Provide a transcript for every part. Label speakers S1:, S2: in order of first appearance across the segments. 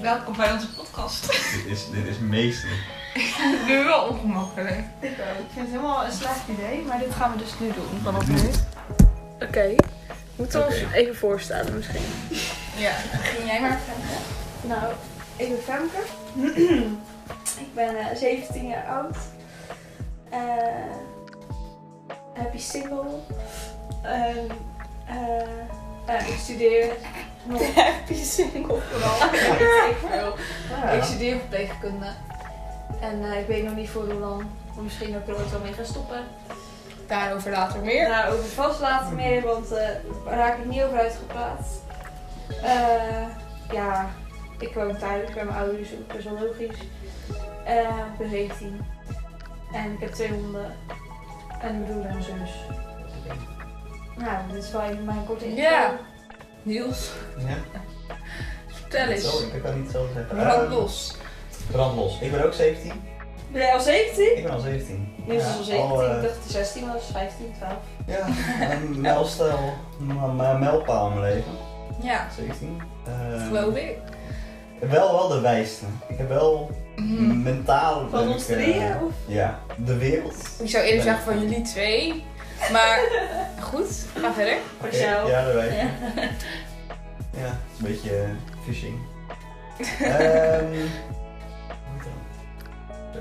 S1: Welkom bij onze podcast.
S2: Dit is, dit is meester.
S1: nu wel ongemakkelijk.
S3: Ik ook. Ik vind het helemaal een slecht idee, maar dit gaan we dus nu doen vanaf nu.
S4: Oké. Moeten we ons
S2: Oké.
S4: even voorstellen misschien?
S3: Ja.
S5: Ging jij maar verder.
S4: Nou, ik ben Femke.
S5: Ik ben eh, 17 jaar oud. Eh, happy single. Ehm, eh, eh, ik studeer nog. happy single vooral. ik, veel. ik studeer verpleegkunde. En eh, ik weet nog niet voor hoe lang. Maar Misschien ook ik er ooit wel mee gaan stoppen.
S1: Daarover later meer.
S5: Daarover Nou, vast later meer, want eh, daar raak ik niet over uitgepraat. Eh, ja, ik woon thuis bij mijn ouders, dus best wel logisch. Eh, ik ben 17. En ik heb twee honden. En een broer en een zus. Nou, dit is wel even mijn korte intro.
S1: Ja. Niels,
S2: Ja,
S1: vertel eens.
S2: ik kan niet zo zeggen.
S1: Brand los.
S2: Brandlos. Ik ben ook 17.
S5: Ben jij al 17?
S2: Ik ben al 17.
S5: Niels
S2: Ja,
S5: is al 17.
S2: eh,
S5: Ik dacht dat hij 16 was, 15, 12.
S2: ja, een mijlstel, een m- mijlpaal in mijn leven.
S1: Ja,
S2: 17. Eh,
S1: geloof ik.
S2: wel, wel de wijste. Ik heb wel
S1: Hmm. Mhm.
S2: mentaal...
S5: Van
S2: ben
S5: ons
S2: ik, eh,
S5: drieën, of?
S2: Ja, de wereld.
S1: Ik zou eerder zeggen van jullie twee. Maar goed, ga verder.
S5: Voor
S2: Oké,
S5: jou.
S2: Ja, dat weet ik. Ja, het is een beetje eh, phishing. Ehm, wat dan?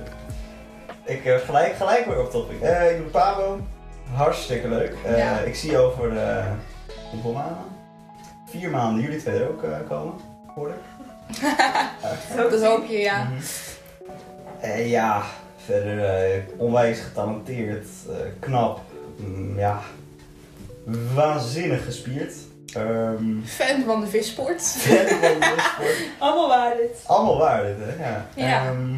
S2: ik eh, gelijk, gelijk weer op topic. Eh, ik ben Pablo. Hartstikke leuk. Eh,
S1: Ja.
S2: Ik zie je over eh, hoeveel maanden? Vier maanden. Jullie twee er ook eh, komen, hoorde ik.
S1: Dat hoop je, ja.
S2: Mhm. Eh, ja, verder eh, onwijs getalenteerd, eh, knap, mm, ja, waanzinnig gespierd. Ehm,
S1: Fan van de vissport.
S2: fan van de sport.
S5: Allemaal waar dit.
S2: Allemaal waar dit, hè? Ja.
S1: Ja.
S2: Ehm,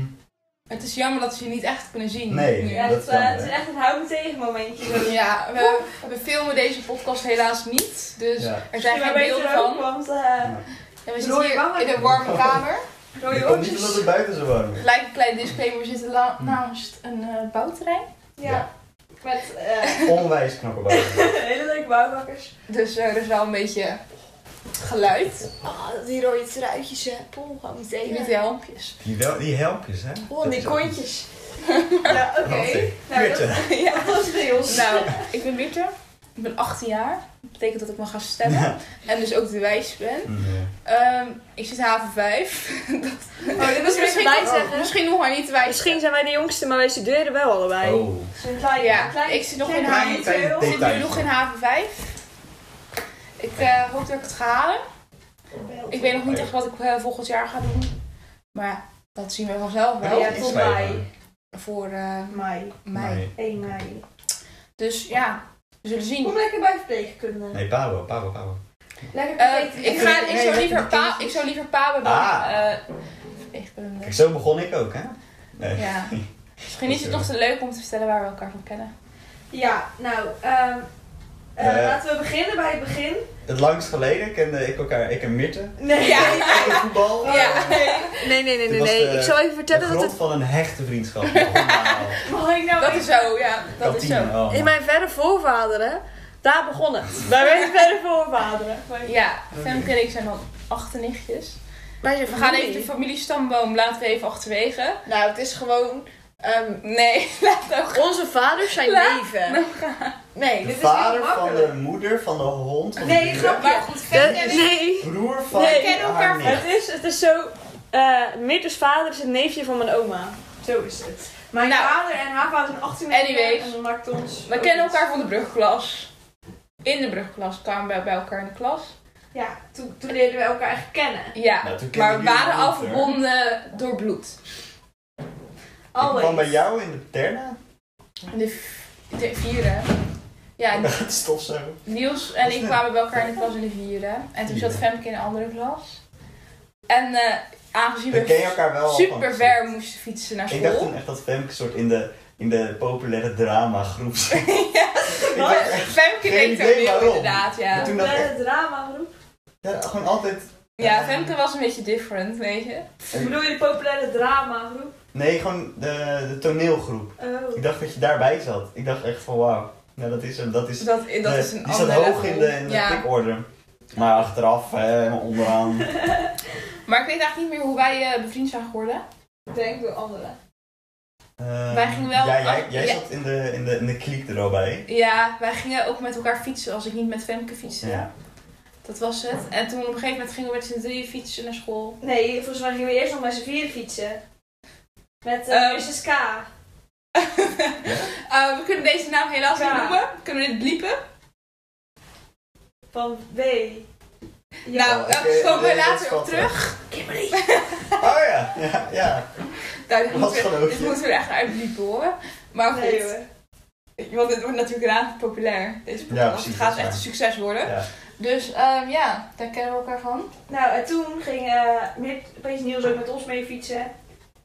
S1: Het is jammer dat ze je niet echt kunnen zien.
S2: Nee.
S1: nu.
S5: Ja,
S2: dat
S5: het,
S2: kan,
S5: eh, het
S2: hè.
S5: is echt een hou me tegen momentje.
S1: Ja, we, we filmen deze podcast helaas niet. Dus
S2: ja.
S1: er zijn geen
S5: maar beter
S1: beelden
S5: ook,
S1: van.
S5: want eh,
S1: En we zitten
S5: Rode
S1: hier
S5: wangen.
S1: in een warme kamer.
S5: rode
S2: Ik kan niet
S5: oortjes.
S2: omdat het buiten zo warm is.
S1: Lijkt een klein disclaimer, we zitten la- naast een eh, bouwterrein.
S5: Ja, met eh,
S2: Onwijs knappe buiten.
S5: hele leuke bouwvakkers.
S1: Dus eh, er is wel een beetje geluid.
S4: Oh, die rode truitjes, hè. Pom, gewoon
S1: Niet
S4: meteen.
S1: de helmpjes.
S2: Die, wel, die helpjes, hè?
S4: Oh, en die
S2: kontjes.
S5: Ja, oké. Nou, dat,
S1: ja.
S5: dat was bij ons.
S1: Nou, ik ben Witte. Ik ben 18 jaar. Dat betekent dat ik mag gaan stemmen. En dus ook de wijs ben. Ehm, ik zit haven 5.
S5: oh, dit was
S1: misschien,
S5: misschien
S4: wij zeggen.
S1: misschien nog maar niet de wijs.
S4: Misschien zijn wij de jongste, maar wij studeren wel allebei.
S2: Oh.
S5: zo'n klein,
S1: Ja,
S5: klein,
S1: ik zit nog in
S2: haar-
S5: haar.
S2: Klein-
S1: Ik zit nu
S2: Details.
S1: nog in haven 5. Ik eh, hoop dat ik het ga halen. Ik weet nog niet echt wat ik eh, volgend jaar ga doen. Maar ja, dat zien we vanzelf wel.
S2: Oh,
S5: Ja, tot mei.
S1: Voor eh,
S5: Mei.
S1: mei.
S5: 1 mei.
S1: Dus ja, we zullen zien.
S5: Kom lekker bij verpleegkunde.
S2: Nee, Pablo, Pablo, Pablo.
S5: Lekker
S1: Eh,
S5: verpleegkunde.
S1: ik, ga, ik, zou
S2: Nee,
S1: liever
S2: dat-
S1: pa, ik zou liever pa hebben dan
S2: Ah.
S1: eh, verpleegkunde.
S2: Kijk, zo begon ik ook, hè? Nee.
S1: Ja. Misschien is het nog te leuk om te vertellen waar we elkaar van kennen.
S5: Ja, nou, ehm, eh,
S2: Eh.
S5: laten we beginnen bij het begin.
S2: Het langst geleden kende ik elkaar, ik en Mirte.
S5: Nee,
S1: Ja.
S2: Uit voetbal.
S1: Ja.
S4: Nee, nee, nee,
S2: Dit
S4: nee.
S2: was
S4: nee.
S2: de-
S4: ik zal even
S2: De
S4: vertellen dat
S2: grond
S4: het...
S2: van een hechte vriendschap. Allemaal.
S5: mag ik nou
S1: Dat
S5: even-
S1: is zo, ja. Dat is zo.
S2: Kantine, allemaal.
S4: In mijn verre voorvaderen, daar begon het. Bij mijn verre voorvaderen.
S1: Ja, Femke en ik zijn dan achternichtjes.
S4: Bij je
S1: We gaan even de familiestamboom laten we even achterwege.
S4: Nou, het is gewoon... ehm,
S1: Nee, laat nou gaan.
S4: onze vaders zijn
S1: Laat
S4: neven. Nee,
S2: De
S4: dit-
S2: vader
S5: heel
S2: van de
S5: makkelijk.
S2: moeder van de hond. Van
S5: Nee, Eh,
S2: de
S5: grapje.
S1: Maar goed, Femke en
S4: de-
S1: ik-
S4: nee.
S2: broer van
S4: Nee,
S1: kennen
S2: haar
S1: elkaar van-
S2: nicht.
S4: Het is, het is zo. eh
S5: dus
S4: Mirtes vader is het neefje van mijn oma.
S5: Zo is het. Mijn
S1: Nou.
S5: vader en haar vader zijn 18
S1: Anyways.
S5: en dat maakt ons...
S1: We kennen elkaar van de brugklas. In de brugklas kwamen we bij elkaar in de klas.
S5: Ja, toen, toen leerden we elkaar echt kennen.
S1: Ja,
S2: Nou, toen kenden
S1: maar we
S2: jullie
S1: waren al
S2: elkaar.
S1: verbonden door bloed.
S2: Ik
S5: Always.
S2: kwam bij jou in de terna.
S1: In de, v- de vierde. Ja, en
S2: Het stofzuiger.
S1: Niels en ik kwamen bij elkaar in de klas in de vierde. En toen zat
S2: Vierde.
S1: Femke in een andere klas. En eh, aangezien
S2: We kennen
S1: we
S2: elkaar wel al van
S1: super ver
S2: gezicht.
S1: moesten fietsen naar
S2: Ik dacht
S1: school.
S2: toen echt dat Femke soort in de, in de populaire drama groep zat. Ik dacht echt-
S1: Femke
S2: Geen
S1: deed
S2: idee
S1: ook heel
S2: waarom.
S1: inderdaad, ja.
S2: Maar toen
S5: Bij
S2: dacht ik echt,
S5: de drama groep.
S2: ja, gewoon altijd...
S1: Ja, Femke was een beetje different, weet je.
S5: Bedoel je de populaire drama groep?
S2: Nee, gewoon de, de toneelgroep.
S5: Oh.
S2: Ik dacht dat je daarbij zat. Ik dacht echt van wauw. Nou, dat is hem. Dat is,
S1: Dus dat, dat
S2: de-
S1: is een
S2: die
S1: andere
S2: staat hoog
S1: level.
S2: in de, in de
S1: ja.
S2: pickorder. Maar achteraf, hè, helemaal onderaan.
S1: Maar ik weet eigenlijk niet meer hoe wij eh, bevriend zijn geworden.
S5: Ik denk door anderen.
S2: Eh,
S1: Wij gingen wel-
S2: Ja, jij, jij
S1: ja.
S2: zat in de, in, de, in de kliek er al bij.
S1: Ja, wij gingen ook met elkaar fietsen als ik niet met Femke fietste.
S2: Ja.
S1: Dat was het. En toen op een gegeven moment gingen we met z'n drieën fietsen naar school.
S5: Nee, volgens mij gingen we eerst nog met z'n vieren fietsen. Met eh
S1: Ehm.
S5: Mrs. K.
S1: Eh, we kunnen deze naam helaas
S5: Ja.
S1: niet noemen. Kunnen we dit bliepen?
S5: Van W.
S1: Nou,
S2: oké,
S1: eh, komen we
S2: nee, dat
S1: later
S2: valt
S1: op terug.
S5: Kimberly.
S2: eh. Oh ja, ja, ja.
S1: Nou, dit,
S2: Wat
S1: moeten we,
S2: geloof
S1: dit
S2: je?
S1: moeten we er echt uitbliepen hoor. Maar goed,
S5: Nee hoor.
S1: want dit wordt natuurlijk raar populair. Deze podcast.
S2: precies,
S1: het gaat
S2: dat is
S1: echt een succes worden.
S2: ja.
S1: Dus ehm, ja, daar kennen we elkaar van.
S5: Nou, en toen ging eh met, opeens Niels ook met ons mee fietsen.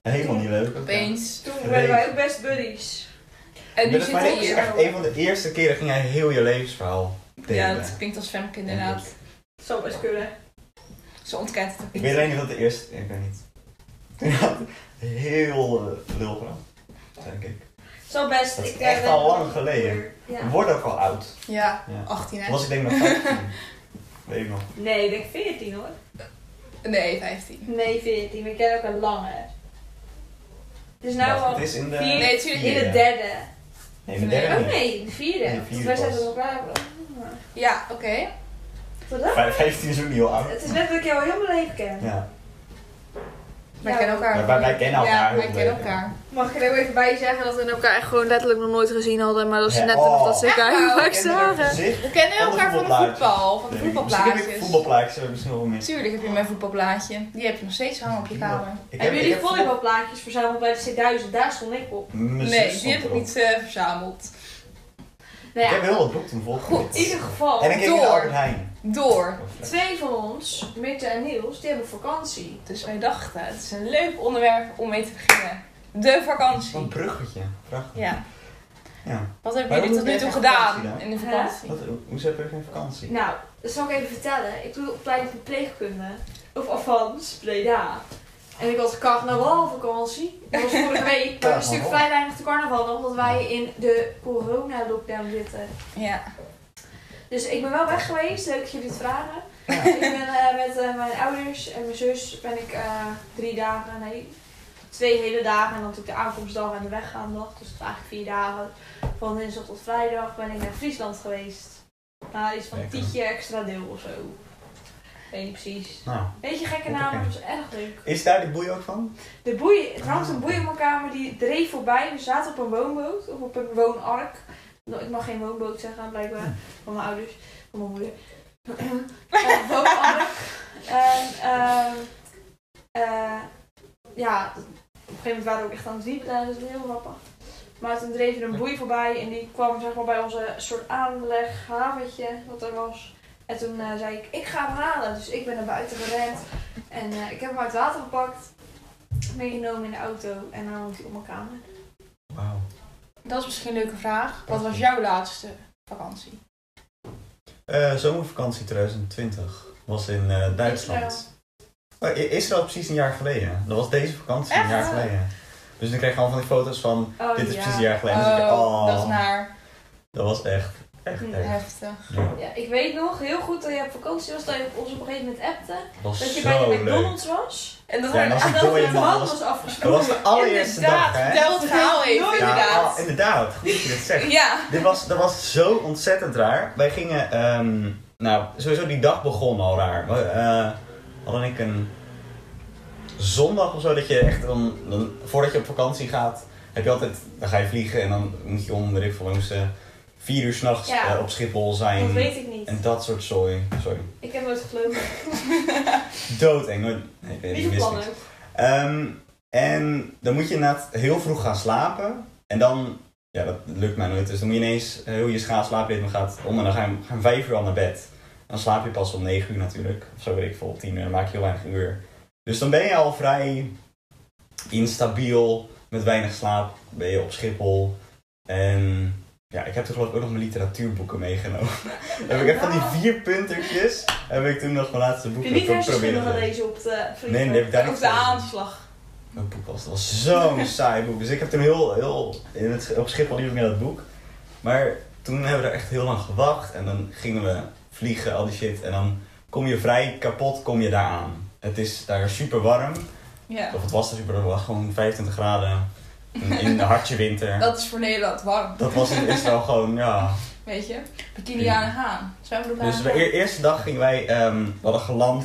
S2: Helemaal niet leuk.
S1: Opeens.
S5: Toen
S2: Nee.
S5: werden wij ook best buddies.
S1: En nu
S2: Maar dat
S1: zitten we
S2: is
S1: eh, hier.
S2: echt een van de eerste keren ging hij heel je levensverhaal delen.
S1: Ja, dat klinkt als Femke inderdaad.
S5: Zou best kunnen.
S1: Ze ontkent het ook
S2: Ik
S1: niet.
S2: weet alleen niet wat de eerste... Ik weet niet. heel eh, lul gedaan, denk ik.
S5: Zou best.
S2: Dat is
S5: ik,
S2: echt
S5: eh,
S2: al
S5: ben-
S2: lang geleden. Ik
S5: Ja.
S2: word ook al oud.
S1: Ja,
S2: Ja.
S1: 18
S2: Toen
S1: hè?
S2: was ik denk ik nog 15. Weet ik nog.
S5: Nee, ik denk 14 hoor.
S1: Nee, 15.
S5: Nee, 14. We kennen ook een langer. Dus nou
S2: Wacht,
S5: al
S2: het is eh, in de...
S5: vier-
S1: Nee, natuurlijk
S5: in
S2: vierde.
S5: de derde.
S2: Nee, in de
S1: Nee,
S2: derde
S5: Oh
S2: niet.
S5: nee, in de vierde.
S2: In de
S5: Want
S2: vierde
S5: wij zijn
S2: pas.
S5: er nog klaar voor.
S1: Ja, oké.
S5: Wat dan?
S2: Vijf- 15 is ook niet heel oud.
S5: Het is net dat ik jou helemaal leven ken.
S2: Ja.
S1: Wij
S5: Ja.
S1: kennen elkaar.
S2: Wij- wij- wij kennen elkaar
S1: Ja,
S2: heel
S1: wij kennen
S2: goed.
S1: elkaar.
S4: Mag ik er ook even bij zeggen dat we elkaar echt gewoon letterlijk nog nooit gezien hadden, maar dat ze
S2: Ja,
S4: net
S2: oh.
S4: alsof dat ze elkaar
S1: Ja,
S4: heel
S1: oh,
S4: vaak
S1: oké,
S4: zagen.
S2: Zich?
S1: We kennen
S2: Alle
S1: elkaar van de
S2: voetbalplaatjes.
S1: voetbal, van de
S2: Nee, Misschien heb ik
S1: voetbalplaatjes.
S2: voetbalplaatjes, heb ik misschien nog wel meer.
S1: Tuurlijk heb je mijn voetbalplaatje. Die heb je nog steeds hangen op je kamer.
S2: Ik heb,
S5: Hebben
S2: ik
S5: jullie
S2: heb voetbal...
S5: volleybalplaatjes verzameld bij de C1000? Daar stond ik op.
S2: Mijn zus
S1: Nee, die
S2: stond
S1: heb ik
S2: erop.
S1: niet eh, verzameld.
S5: Nou
S2: Ik heb
S5: ja,
S2: heel wat broek toen volgegooid.
S5: in ieder geval,
S2: En ik heb in
S1: door.
S2: Albert Heijn.
S1: Door.
S5: twee van ons, Mitte en Niels, die hebben vakantie.
S1: Dus wij dachten, het is een leuk onderwerp om mee te beginnen. De
S2: Een
S1: vakantie.
S2: bruggetje. Prachtig.
S1: Ja.
S2: Ja.
S1: Wat hebben
S2: Maar
S1: jullie
S2: hoe
S1: tot nu
S2: ben
S1: toe
S2: je vakantie
S1: gedaan
S2: dan?
S1: in de vakantie?
S2: Wat, hoe zit er geen vakantie?
S5: Nou, dat zal ik even vertellen. Ik doe de opleiding verpleegkunde. Of avans, Breda. En ik had carnavalvakantie. Dat was vorige week. Maar het is natuurlijk
S2: Carnaval.
S5: vrij weinig te carnaval, omdat wij in de corona-lockdown zitten.
S1: Ja.
S5: Dus ik ben wel weg geweest. Leuk dat jullie het vragen.
S2: Ja.
S5: Ik ben eh, met eh, mijn ouders en mijn zus ben ik eh, drie dagen, nee, twee hele dagen. En dan natuurlijk de aankomstdag en de weggaandag. Dus het eigenlijk vier dagen. Van dinsdag tot vrijdag ben ik naar Friesland geweest. Na iets van
S2: Lekker.
S5: tientje extra deel of zo. Weet niet precies.
S2: Nou,
S5: Beetje gekke
S2: Lekker.
S5: naam, maar het was erg leuk.
S2: is daar die boei ook van?
S5: De boei, er hangt een boei op mijn kamer, die dreef voorbij. We zaten op een woonboot, of op een woonark. Nou, Ik mag geen woonboot zeggen, blijkbaar. Van mijn ouders, van mijn moeder. Een woonark. En, ehm, eh, ja, op een gegeven moment waren we ook echt aan het wiepen, dat is heel grappig. Maar toen dreef er een boei voorbij en die kwam zeg maar, bij onze soort aanleg, haventje, wat er was. En toen eh, zei ik, ik ga hem halen. Dus ik ben naar buiten gerend en eh, ik heb hem uit het water gepakt, meegenomen in de auto en dan hangt hij op mijn kamer.
S2: Wauw.
S1: Dat is misschien een leuke vraag. Wat was jouw laatste vakantie?
S2: Eh, zomervakantie 2020 was in eh, Duitsland. Oh, I- Israël is precies een jaar geleden. Dat was deze vakantie een
S1: Echt?
S2: jaar geleden. Dus dan kreeg je allemaal van die foto's van
S5: Oh,
S2: dit is
S5: ja.
S2: precies een jaar geleden. Dus ik dacht, oh,
S1: dat is naar
S2: dat was echt, echt,
S5: Hm,
S2: echt.
S1: heftig.
S2: Ja,
S5: Ja, ik weet nog heel goed dat je op vakantie was, dat je op ons op een gegeven moment appte.
S2: dat was
S5: Dat je bij
S2: zo
S5: de
S2: leuk.
S5: McDonald's was.
S1: En dat
S2: Ja,
S1: waren
S2: en als
S5: En
S2: die
S5: dat
S2: dode
S5: de
S2: man
S5: hand
S2: was-
S5: was
S2: Dat
S5: afgesproken.
S2: was de allereerste dag,
S1: inderdaad,
S2: hè?
S1: vertel het verhaal even,
S5: Nooit-
S2: Ja,
S1: inderdaad.
S2: ah, inderdaad. Goed dat je dat zegt.
S1: Ja.
S2: Dit was, dat was zo ontzettend raar. Wij gingen, ehm, nou, sowieso die dag begon al raar. We eh, hadden ik een zondag of zo, dat je echt dan, dan, voordat je op vakantie gaat, heb je altijd, dan ga je vliegen en dan moet je om, weet ik veel, langs eh, vier uur s'nachts eh,
S5: Ja.
S2: op Schiphol
S5: Dat
S2: zijn.
S5: weet ik niet.
S2: En dat soort zooi. Sorry.
S5: Ik heb nooit gelogen.
S2: Doodeng. hoor. Nee, ik weet niet,
S5: Niet
S2: ik wist
S5: plannen.
S2: Ehm, en dan moet je inderdaad heel vroeg gaan slapen. En dan, ja, dat lukt mij nooit. Dus dan moet je ineens eh, heel je schaatslaapritme gaat om. En dan ga je gaan vijf uur al naar bed. Dan slaap je pas om negen uur natuurlijk. Of zo weet ik veel, om tien uur. Dan maak je heel weinig uur. Dus dan ben je al vrij instabiel. Met weinig slaap ben je op Schiphol. En ja, ik heb toen geloof ik ook nog mijn literatuurboeken meegenomen. heb ik echt van die vier puntertjes. Heb ik toen nog mijn laatste boek
S5: Heb je niet
S2: geprobeerd
S5: hersenschudding
S2: te lezen.
S5: gelezen op de
S2: Nee, nee, heb ik daar niet
S1: Ook de
S2: gelezen.
S1: aanslag.
S2: Mijn boek was, dat was zo'n saai boek. Dus ik heb toen heel, heel in het, op Schiphol liep ik naar dat boek. Maar toen hebben we er echt heel lang gewacht. En dan gingen we vliegen, al die shit. En dan kom je vrij kapot, kom je daar aan. Het is daar super warm.
S1: Ja.
S2: Of het was er super warm, het was gewoon 25 graden. In de hartje winter.
S1: Dat is voor Nederland warm,
S2: Dat was in Israël gewoon, ja.
S1: weet je. Bikini aan de haan. Zwembroek aan
S2: Dus
S1: de
S2: de
S1: haan.
S2: e- eerste dag gingen wij, ehm, we hadden geland,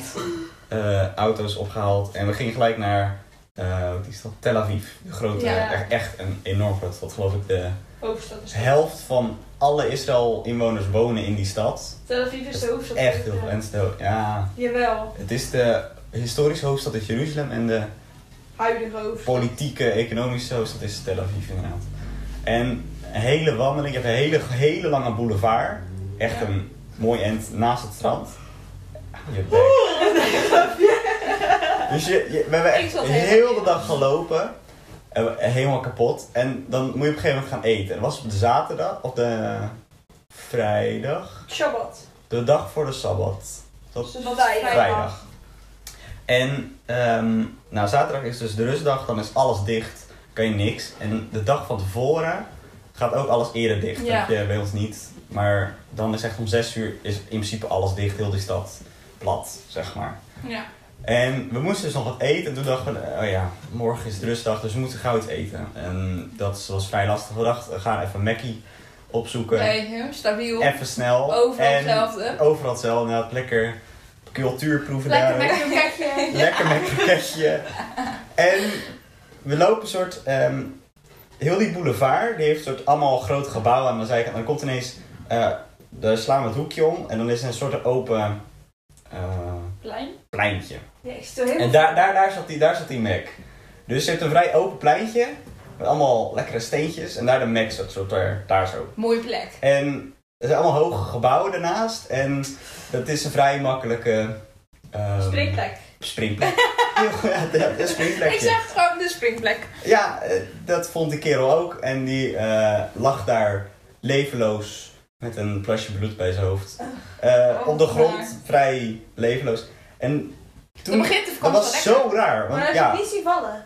S2: eh, auto's opgehaald en we gingen gelijk naar eh, wat is dat? Tel Aviv. De grote,
S5: Ja.
S2: echt, echt een enorm grote stad. Geloof ik de
S5: Hoofdstad is
S2: helft van alle Israël-inwoners wonen in die stad.
S5: Tel Aviv is dus de hoofdstad.
S2: Echt heel veel. En zo- ja,
S5: Jawel,
S2: het is de historische hoofdstad is Jeruzalem en de
S5: huidige hoofdstad.
S2: politieke, economische hoofdstad is Tel Aviv inderdaad. En een hele wandeling, je hebt een hele, hele lange boulevard. Echt
S1: Ja.
S2: een mooi end naast het strand. Ah, Je bek. Dus je, je- we hebben
S1: Ik
S2: echt
S1: zat
S2: heel
S1: helemaal
S2: de
S1: in.
S2: dag gelopen. En we- Helemaal kapot. En dan moet je op een gegeven moment gaan eten. En Dat was op de zaterdag, op de vrijdag.
S5: Shabbat.
S2: De dag voor de Sabbat. Dat
S5: Dus dat is
S2: vrijdag. En ehm, nou, zaterdag is dus de rustdag, dan is alles dicht, kan je niks. En de dag van tevoren gaat ook alles eerder dicht.
S1: Ja.
S2: Dat je bij ons niet. Maar dan is echt om 6 uur is in principe alles dicht, heel die stad plat, zeg maar.
S1: Ja.
S2: En we moesten dus nog wat eten. En toen dachten we, oh ja, morgen is de rustdag, dus we moeten gauw iets eten. En dat was vrij lastig. We dachten, we gaan even Mackie opzoeken.
S1: Bij hem, stabiel.
S2: Even snel.
S1: Overal
S2: En
S1: hetzelfde.
S2: Overal hetzelfde. Nou, lekker cultuurproeven
S1: Lekker
S2: daar.
S1: met
S5: Een plekje.
S2: Lekker met een pakketje. En we lopen een soort... ehm, heel die boulevard, die heeft een soort allemaal groot gebouw aan de zijkant. En dan komt ineens... eh, daar slaan we het hoekje om. En dan is er een soort open... eh,
S5: Plein.
S2: pleintje.
S5: Ja, ik stel heel
S2: En daar, daar, daar, zat die, daar zat die Mac. Dus je hebt een vrij open pleintje. Met allemaal lekkere steentjes. En daar de Mac zat, soort daar, daar zo.
S1: Mooie plek.
S2: En er zijn allemaal hoge gebouwen daarnaast. En dat is een vrij makkelijke... ehm,
S5: Spreekplek.
S2: Springplek. ja, dat is een
S1: Ik
S2: springplekje.
S1: zeg gewoon de springplek.
S2: Ja, eh, dat vond die kerel ook. En die eh, lag daar levenloos met een plasje bloed bij zijn hoofd. Eh,
S1: Oh,
S2: op de
S1: maar.
S2: grond, vrij levenloos. En
S1: Dan
S2: toen...
S1: begint de
S2: Dat
S1: vakantie wel
S2: was
S1: lekker.
S2: zo raar.
S5: Maar
S2: Want,
S5: hij
S2: ja,
S5: heeft niet zien vallen.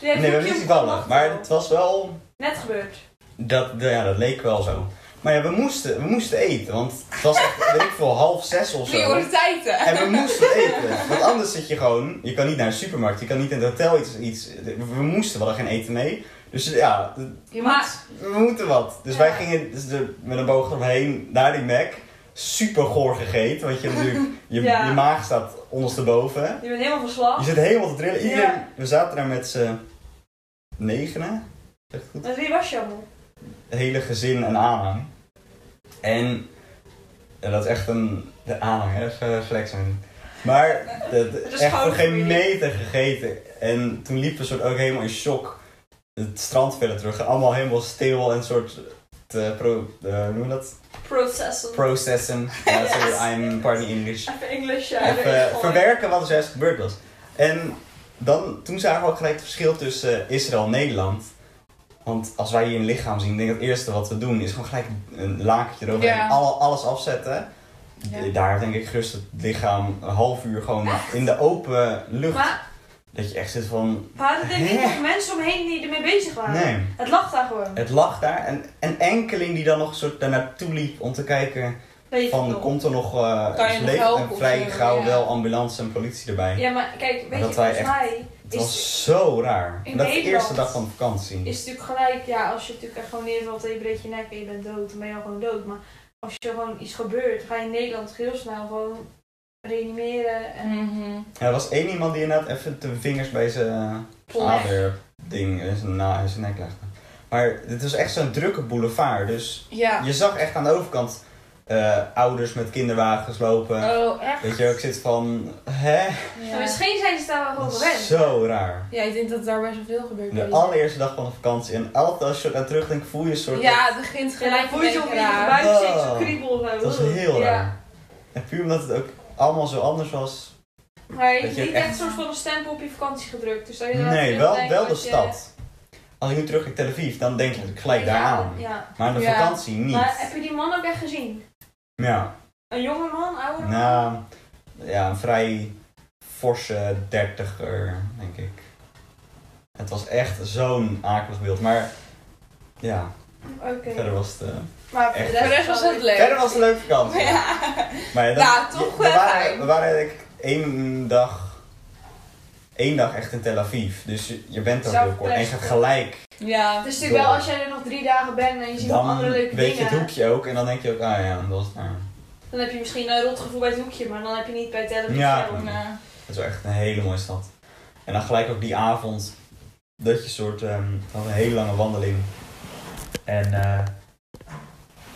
S2: nee, we hebben niet zien vallen. Maar het was wel...
S5: Net gebeurd.
S2: Dat, ja, dat leek wel zo. Maar ja, we moesten, we moesten eten. Want het was echt, weet ik veel, half zes of zo.
S1: Prioriteiten.
S2: En we moesten eten. Want anders zit je gewoon... Je kan niet naar een supermarkt. Je kan niet in het hotel iets... iets we moesten, we hadden geen eten mee. Dus ja,
S1: Je
S5: Maar-
S1: moet-
S2: we moeten wat. Dus
S5: Ja.
S2: wij gingen dus de, met een boog eromheen naar die Mac. Super goor gegeten. Want je, hebt natuurlijk, je,
S5: Ja.
S2: je maag staat ondersteboven.
S5: Je bent helemaal van slag.
S2: Je zit helemaal te trillen. Iedereen,
S5: Ja.
S2: We zaten daar met z'n negenen. Zeg ik goed?
S5: Met wie was je allemaal?
S2: Het hele gezin en aanhang. En ja, dat is echt een... De aanhang, hè? Even flexen. Maar dat,
S5: Het is
S2: echt voor
S5: gewoon
S2: geen
S5: familie.
S2: meter gegeten. En toen liepen we soort ook helemaal in shock het strand verder terug. Allemaal helemaal stil en soort... Te pro, eh, hoe noem je dat?
S5: Processen.
S2: Processen. Ja, sorry,
S5: Yes.
S2: I'm pardon English.
S5: Even Engels. ja,
S2: Even
S5: erin gooien.
S2: eh, verwerken wat er zojuist gebeurd was. En dan, toen zagen we ook gelijk het verschil tussen eh, Israël en Nederland. Want als wij hier een lichaam zien, denk ik het eerste wat we doen is gewoon gelijk een lakentje erover
S1: Ja.
S2: en alle- alles afzetten.
S1: Ja.
S2: Daar denk ik gerust het lichaam een half uur gewoon in de open lucht.
S5: Maar
S2: Dat je echt zit van,
S5: we hadden denk ik
S2: Hè?
S5: nog mensen omheen die ermee bezig waren.
S2: nee.
S5: Het lag daar gewoon.
S2: Het lag daar en een enkeling die dan nog een soort daarnaartoe liep om te kijken
S5: Weet je
S2: van
S5: nog.
S2: komt er nog eh
S1: Kan je
S2: is
S1: nog
S2: leven?
S1: helpen
S2: en
S1: of
S2: vrij
S1: zo,
S2: gauw
S1: ja.
S2: wel ambulance en politie erbij.
S5: Ja, maar kijk, weet
S2: Maar
S5: je,
S2: dat
S5: volgens
S2: wij echt-
S5: mij
S2: Het
S5: is,
S2: was zo raar.
S5: In
S2: En dat is de
S5: Nederland
S2: eerste dag van de vakantie.
S5: is het natuurlijk gelijk, ja, als je natuurlijk echt gewoon neervalt en je breekt je nek en je bent dood, dan ben je al gewoon dood. Maar als je gewoon iets gebeurt, ga je in Nederland heel snel gewoon reanimeren en
S1: Mhm.
S2: Ja, er was één iemand die inderdaad even de vingers bij zijn aderding, eh, zijn, na, zijn nek legde. Maar dit was echt zo'n drukke boulevard. Dus
S1: Ja.
S2: je zag echt aan de overkant eh, ouders met kinderwagens lopen.
S1: Oh, echt?
S2: Weet je, ook zit van, hè?
S5: Maar
S1: Ja.
S5: misschien zijn ze daar wel
S2: Dat
S5: gewoon
S2: is
S5: gewend.
S2: zo raar.
S1: Ja, ik denk dat daar best wel veel gebeurt.
S2: De
S1: bij
S2: allereerste dag van de vakantie. En altijd als je daar terugdenkt, voel je een soort...
S1: die- Ja, het begint
S5: Gelijk
S1: gelijk een
S5: voelt je op
S1: beetje
S5: je
S1: raar.
S5: buik steeds
S2: Oh.
S5: zo'n kriebel of zo.
S2: Dat was heel
S5: Ja.
S2: raar. En puur omdat het ook allemaal zo anders was.
S5: Maar je
S2: Dat
S5: hebt
S2: je
S5: niet
S2: echt-
S5: echt een soort van een stempel op je vakantie gedrukt. Dus dat je daar
S2: Nee,
S5: terug
S2: wel,
S5: denkt
S2: wel de
S5: dat je-
S2: stad. Als ik nu terug in Tel Aviv, dan denk ik gelijk daar aan.
S5: Ja.
S2: Maar de
S1: Ja.
S2: vakantie niet.
S5: Maar heb je die man ook echt gezien?
S2: Ja,
S5: Een jonge man, ouder man?
S2: nou, ja, een vrij forse dertiger, denk ik. Het was echt zo'n akelig beeld. Maar ja,
S5: Oké.
S2: verder was het, eh,
S5: Maar
S2: echt.
S1: Voor de rest was het leuk.
S2: verder was het een leuke vakantie.
S1: Ja.
S2: Maar
S1: Nou, toch
S2: we
S1: wel
S2: waren,
S1: fijn.
S2: we waren eigenlijk één dag één dag echt in Tel Aviv. Dus je, je bent er
S5: Zou
S2: heel kort. En je gaat
S5: verpleegd
S2: gelijk.
S4: Ja.
S5: Het is natuurlijk
S2: Door.
S5: wel als jij er nog drie dagen bent en je ziet nog
S2: Dan
S5: andere leuke
S2: weet je het
S5: dingen.
S2: hoekje ook. En dan denk je ook, ah ja, dat is, nou,
S5: Dan heb je misschien een rotgevoel bij het hoekje, maar dan heb je niet bij het televisie.
S2: Ja.
S5: om, eh,
S2: dat is wel echt een hele mooie stad. En dan gelijk ook die avond. Dat je soort, ehm we hadden een hele lange wandeling. En eh,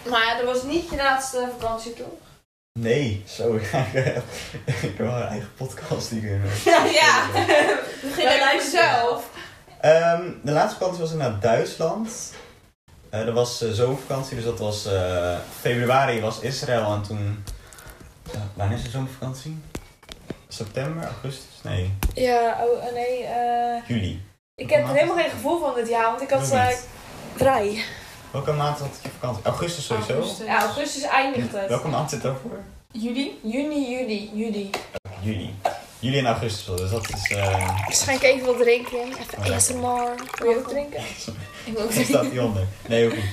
S5: Maar ja, dat was niet je laatste vakantie toch?
S2: nee, zo, ik, ik heb wel een eigen podcast die ik weer maak.
S5: Ja, ja. Begin
S1: Wij
S5: bij
S1: moeten-
S5: zelf.
S2: Ehm, de laatste vakantie was naar Duitsland. Eh, dat was eh, zomervakantie, dus dat was eh, februari was Israël en toen. eh, wanneer is de zomervakantie? September, augustus? Nee,
S4: Ja, oh eh, nee. eh,
S2: juli.
S4: ik heb er helemaal geen gevoel van dit jaar, want ik had
S2: Nog
S4: eh,
S2: niet.
S4: vrij.
S2: Welke maand had je vakantie? Augustus sowieso.
S1: Augustus.
S5: Ja, augustus eindigt het.
S2: Welke maand zit daarvoor?
S1: Juli?
S4: Juni, juli, juli.
S2: Juli. Juli en augustus wel, dus dat is. eh
S4: Waarschijnlijk Dus even wat drinken. Even
S2: Oh ja.
S4: ASMR. Wil je ook drinken?
S1: Ik wil ook
S2: Daar staat die onder. Nee, ook niet.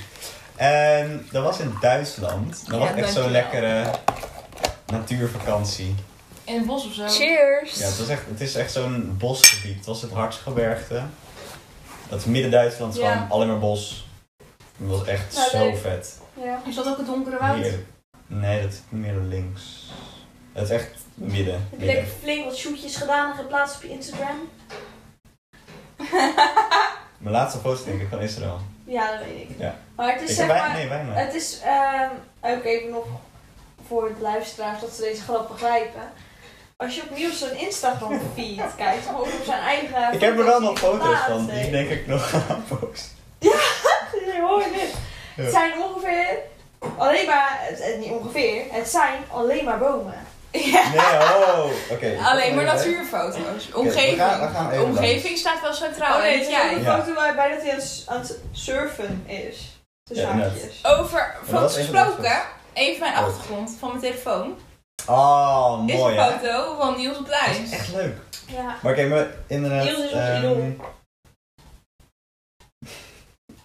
S2: En dat was in Duitsland. Dat was
S1: Ja,
S2: echt zo'n
S1: dankjewel.
S2: lekkere natuurvakantie.
S1: In het bos of zo.
S4: Cheers.
S2: Ja, het, was echt, het is echt zo'n bosgebied. Het was het Hartsgebergte. Dat is midden Duitsland,
S1: Ja.
S2: gewoon alleen maar bos. Het was echt
S5: Nou,
S2: zo
S5: leuk.
S2: vet.
S5: Ja.
S1: Is dat ook het donkere woud?
S2: Hier. Nee, dat is meer links. Het is echt midden.
S5: Heb je
S2: midden.
S5: lekker flink wat shootjes gedaan en geplaatst op je Instagram?
S2: Mijn laatste foto denk ik van Israël.
S5: Ja, dat weet ik.
S2: Ja.
S5: Maar het
S2: Ik
S5: is
S2: heb
S5: zeg
S2: bijna,
S5: maar...
S2: nee, bijna.
S5: Het is... ehm, Oké, even nog voor de luisteraars dat ze deze grap begrijpen. Als je opnieuw op zo'n Instagram feed kijkt, maar ook op zijn eigen...
S2: ik heb er wel nog
S5: foto's die hij
S2: foto's van,
S5: plaatst,
S2: die
S5: hè.
S2: denk ik nog aan post.
S5: Nee, hoor dit.
S2: Ja.
S5: Het zijn ongeveer alleen maar, het, het- niet ongeveer, het zijn alleen maar bomen.
S2: Nee, oh, oké.
S1: Alleen maar natuurfoto's. Omgeving.
S2: we gaan- we gaan even
S1: Omgeving staat wel centraal.
S5: oh nee,
S1: Nou, weet
S5: het is
S1: jij.
S5: een
S2: Ja.
S5: foto waarbij dat hij aan het- aan het surfen is. Tussen
S2: Ja, inderdaad.
S5: haakjes.
S1: Over
S2: dat
S1: foto's
S2: is even
S1: gesproken. Even mijn
S2: Oh.
S1: achtergrond van mijn telefoon.
S2: Oh,
S1: is een
S2: mooi hè.
S1: foto van Niels op
S2: Dat
S1: Lijns.
S2: is echt leuk.
S5: Ja.
S2: Maar kijk, maar inderdaad.
S5: Niels is ons
S2: ehm,
S5: idool.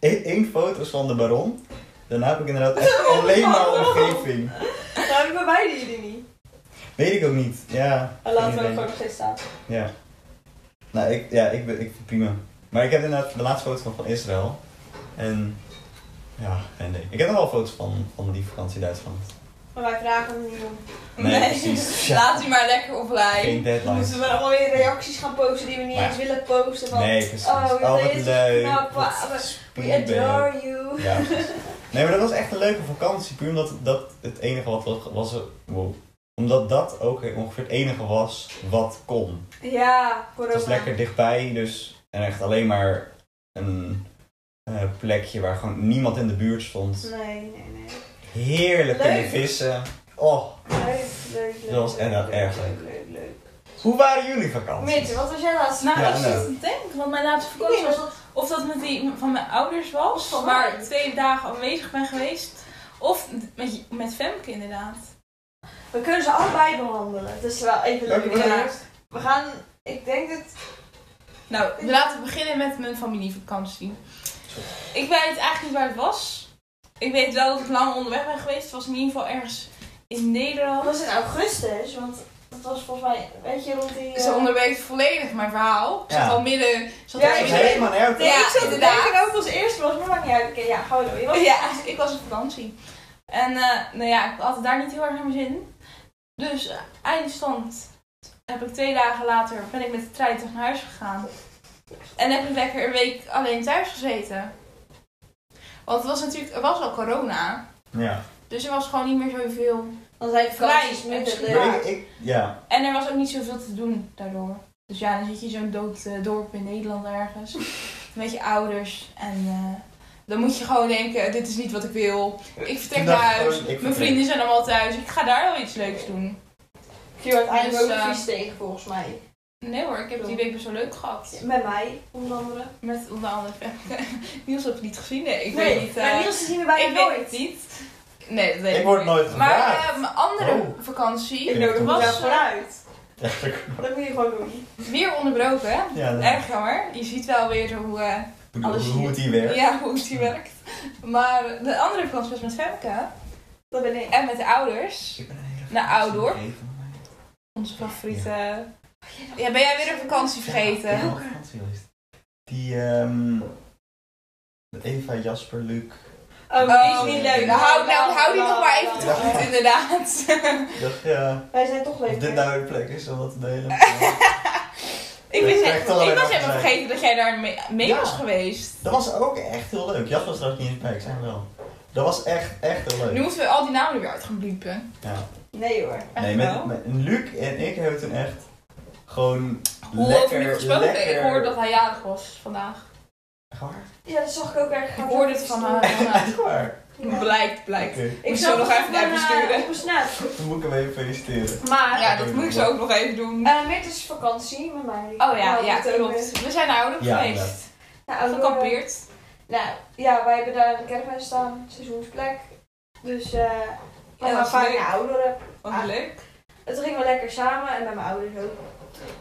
S2: Eén één foto is van de baron. Daarna heb ik inderdaad echt alleen maar omgeving.
S5: Nou, dat bewijden jullie niet.
S2: Weet ik ook niet. Ja.
S5: Maar laten we
S2: geen
S5: hem
S2: idee.
S5: gewoon nog steeds staan.
S2: Ja. Nou, ik, ja, ik, ben- ik vind prima. Maar ik heb inderdaad de laatste foto van, van Israël. En. Ja, geen idee. Ik heb nog wel foto's van, van die vakantie in Duitsland.
S5: Maar wij vragen hem niet om.
S2: Nee, precies. Ja.
S1: Laat die maar lekker op lijn.
S2: Geen deadlines.
S5: Moeten we maar allemaal weer reacties gaan posten die we niet
S2: Maar ja.
S5: eens willen posten. Van,
S2: Nee, precies.
S5: Oh,
S2: Oh, wat
S5: is
S2: leuk.
S5: knap.
S2: Wat
S5: We
S2: spier ben je.
S5: adore you.
S2: Ja. Nee, maar dat was echt een leuke vakantie. Puur omdat dat het enige wat was. was wow. Omdat dat ook ongeveer het enige was wat kon.
S5: Ja,
S2: Het
S5: corona.
S2: was lekker dichtbij, dus. En echt alleen maar een eh, plekje waar gewoon niemand in de buurt stond.
S5: Nee, nee, nee.
S2: Heerlijk
S5: Leuk.
S2: kunnen vissen. Oh,
S5: Leuk, leuk, leuk.
S2: Dat was inderdaad erg leuk.
S5: Leuk, leuk.
S2: hoe waren jullie vakantie?
S5: Mitch, wat was jij laatste?
S1: Nou,
S2: Ja,
S1: ik
S2: nou.
S1: zit te denken, want mijn laatste
S5: Ik weet
S1: vakantie
S5: niet,
S1: was...
S5: was dat
S1: Of dat met die van mijn ouders was,
S5: Van
S1: waar
S5: mij.
S1: ik twee dagen aanwezig ben geweest. Of met, met Femke inderdaad.
S5: We kunnen ze allebei behandelen. Het is wel even leuk.
S2: Welke wil je
S5: Ja.
S2: eerst?
S5: We gaan, ik denk dat...
S1: Nou, laten we beginnen met mijn familievakantie. Ik weet eigenlijk niet waar het was. Ik weet wel dat ik lang onderweg ben geweest. Het was in ieder geval ergens in
S5: Dat
S1: Nederland.
S5: was in augustus, want dat was volgens mij, weet je, rond die... eh,
S1: Ze onderweek volledig mijn verhaal. Ik zat
S2: Ja.
S1: al midden... Zat
S5: Ja,
S1: al
S2: Dat
S5: ik
S2: was
S1: midden-
S5: weet-
S2: helemaal nergens.
S5: Nee, ik zat te
S1: inderdaad.
S5: denken dat het als eerste was, maar maakt niet uit. Oké, ja, gaan we door. Je was...
S1: Oh Ja, ik was op vakantie. En eh, nou ja, ik had het daar niet heel erg naar mijn zin. Dus eh, eindstand heb ik twee dagen later ben ik met de trein terug naar huis gegaan. En heb ik lekker een week alleen thuis gezeten. Want het was natuurlijk, er was al corona.
S2: Ja.
S1: Dus er was gewoon niet meer zoveel.
S5: Dan zijn vakanties
S1: Klein,
S5: minder
S1: misschien.
S5: leuk.
S2: Maar ik, ik, ja.
S1: En er was ook niet zoveel te doen daardoor. Dus ja, dan zit je in zo'n dood eh, dorp in Nederland ergens. Met je ouders. En eh, dan moet je gewoon denken, dit is niet wat ik wil. Ik vertrek
S2: Toen dacht
S1: naar
S2: Eh, ik
S1: huis.
S2: gewoon, ik
S1: Mijn
S2: vertrek.
S1: vrienden zijn allemaal thuis. Ik ga daar wel iets leuks doen.
S5: Ik viel uiteindelijk
S1: Dus,
S5: ook
S1: eh,
S5: vies tegen, volgens mij.
S1: Nee hoor, ik heb die week best wel leuk gehad.
S5: Met mij, onder andere.
S1: Met onder andere Femke. Niels heb ik niet gezien. Nee, ik
S5: nee,
S1: weet niet. eh,
S5: maar Niels is niet meer bij
S1: ik
S5: me
S1: weet
S5: nooit.
S1: het niet. Nee, dat weet
S2: Ik
S1: ik
S2: word
S1: niet.
S2: nooit
S1: Maar
S2: gevraagd.
S1: eh, mijn andere
S2: Oh.
S1: vakantie
S5: Ik
S2: Ik
S5: nodig
S1: was
S5: me daar
S1: eh,
S5: vooruit.
S2: Ja, ik-
S5: Dat moet je gewoon doen.
S1: weer onderbroken. hè?
S2: ja, dat-
S1: Erg jammer. Je ziet wel weer hoe... eh,
S2: hoe,
S1: alles
S2: hoe
S1: hier.
S2: het hier werkt.
S1: Ja, hoe het hier werkt. Maar de andere kans was met Femke
S5: Dat ben ik.
S1: en met de ouders.
S2: Ik ben een hele
S1: Naar Ouddorp.
S2: vakantie gegeven.
S1: Onze favoriete Ja, ben jij weer een vakantie vergeten?
S2: Ja, wat vakantiegeweest. Die, ehm Eva, Jasper, Luc.
S5: Oh, die is niet leuk.
S1: Hou, nou, hou die nog maar even
S5: Ja.
S1: te goed, inderdaad.
S2: Dacht, ja,
S5: Wij zijn toch
S2: of
S5: leuk.
S2: dit
S5: hè?
S2: nou een plek is om wat te delen.
S1: ik, wist,
S2: Ja, ik
S1: echt-
S2: zal er
S1: ik was
S2: even
S1: even
S2: zijn.
S1: vergeten dat jij daar mee, mee
S2: Ja.
S1: was geweest.
S2: dat was ook echt heel leuk. Jasper was trouwens niet eens bij, ik zei hem wel. Dat was echt, echt heel
S1: Nu
S2: leuk.
S1: moeten we al die namen er weer uit gaan bliepen.
S2: Ja.
S5: Nee hoor.
S1: Echt
S2: Nee,
S1: wel?
S2: met, met Luc en ik hebben toen echt gewoon
S1: Hoe over
S2: lekker,
S1: nu gesproken?
S2: lekker...
S1: Ik hoorde dat hij jarig was vandaag.
S2: Echt waar?
S5: Ja, dat zag ik ook erg.
S1: Ik hoorde het van haar.
S2: Echt waar?
S1: Blijkt, blijkt.
S2: Oké,
S1: Moet je zo nog even naar besturen.
S5: eh, Op een snaap.
S2: dan moet ik hem even feliciteren.
S5: Maar,
S1: Ja, dat moet ik zo ook nog even doen.
S5: eh Mirt is vakantie met mij.
S1: Oh ja,
S5: Nou,
S1: ja,
S5: dat ook weer.
S1: klopt. We zijn naar Oude
S2: Ja,
S1: geweest.
S5: Nou, eh,
S1: Gekampeerd.
S5: Nou, ja, wij hebben daar een caravan staan, seizoensplek. Dus, eh...
S1: Ja,
S5: en mijn
S1: was
S5: vader
S1: leuk.
S5: en ouderen.
S1: Was leuk.
S5: Het ging wel lekker samen en met mijn ouders ook.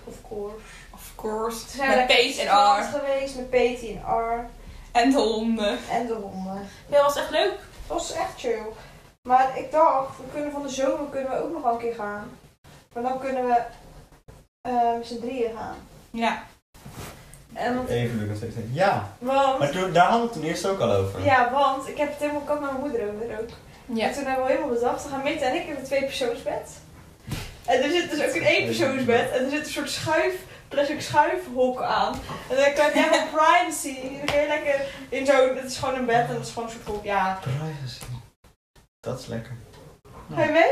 S5: Of course.
S1: Of course.
S5: Toen
S1: Toen
S5: zijn
S1: zijn
S5: we
S1: met
S5: lekker
S1: Pees en
S5: strand
S1: R.
S5: geweest, met Pete en R.
S1: En de honden.
S5: En de honden.
S1: Ja, was echt leuk.
S5: Het was echt chill. Maar ik dacht, we kunnen van de zomer kunnen we ook nog wel een keer gaan. Maar dan kunnen we eh, met z'n drieën gaan.
S1: Ja.
S5: En,
S2: Even Luc nog steeds. Ja,
S5: want,
S2: maar toen, daar hadden we het toen eerst ook al over.
S5: ja, want ik heb het helemaal kant naar mijn moeder over ook.
S1: Ja.
S5: En toen hebben we helemaal bedacht, we gaan Mitte en ik in een tweepersoonsbed. En er zit dus ook een eenpersoonsbed en er zit een soort schuif, plastic schuifhok aan. En dan kan je helemaal privacy. Dan kun je lekker in zo'n, het is gewoon een bed en dat is gewoon een soort hok, ja.
S2: Privacy. Dat is lekker.
S5: Ga je mee?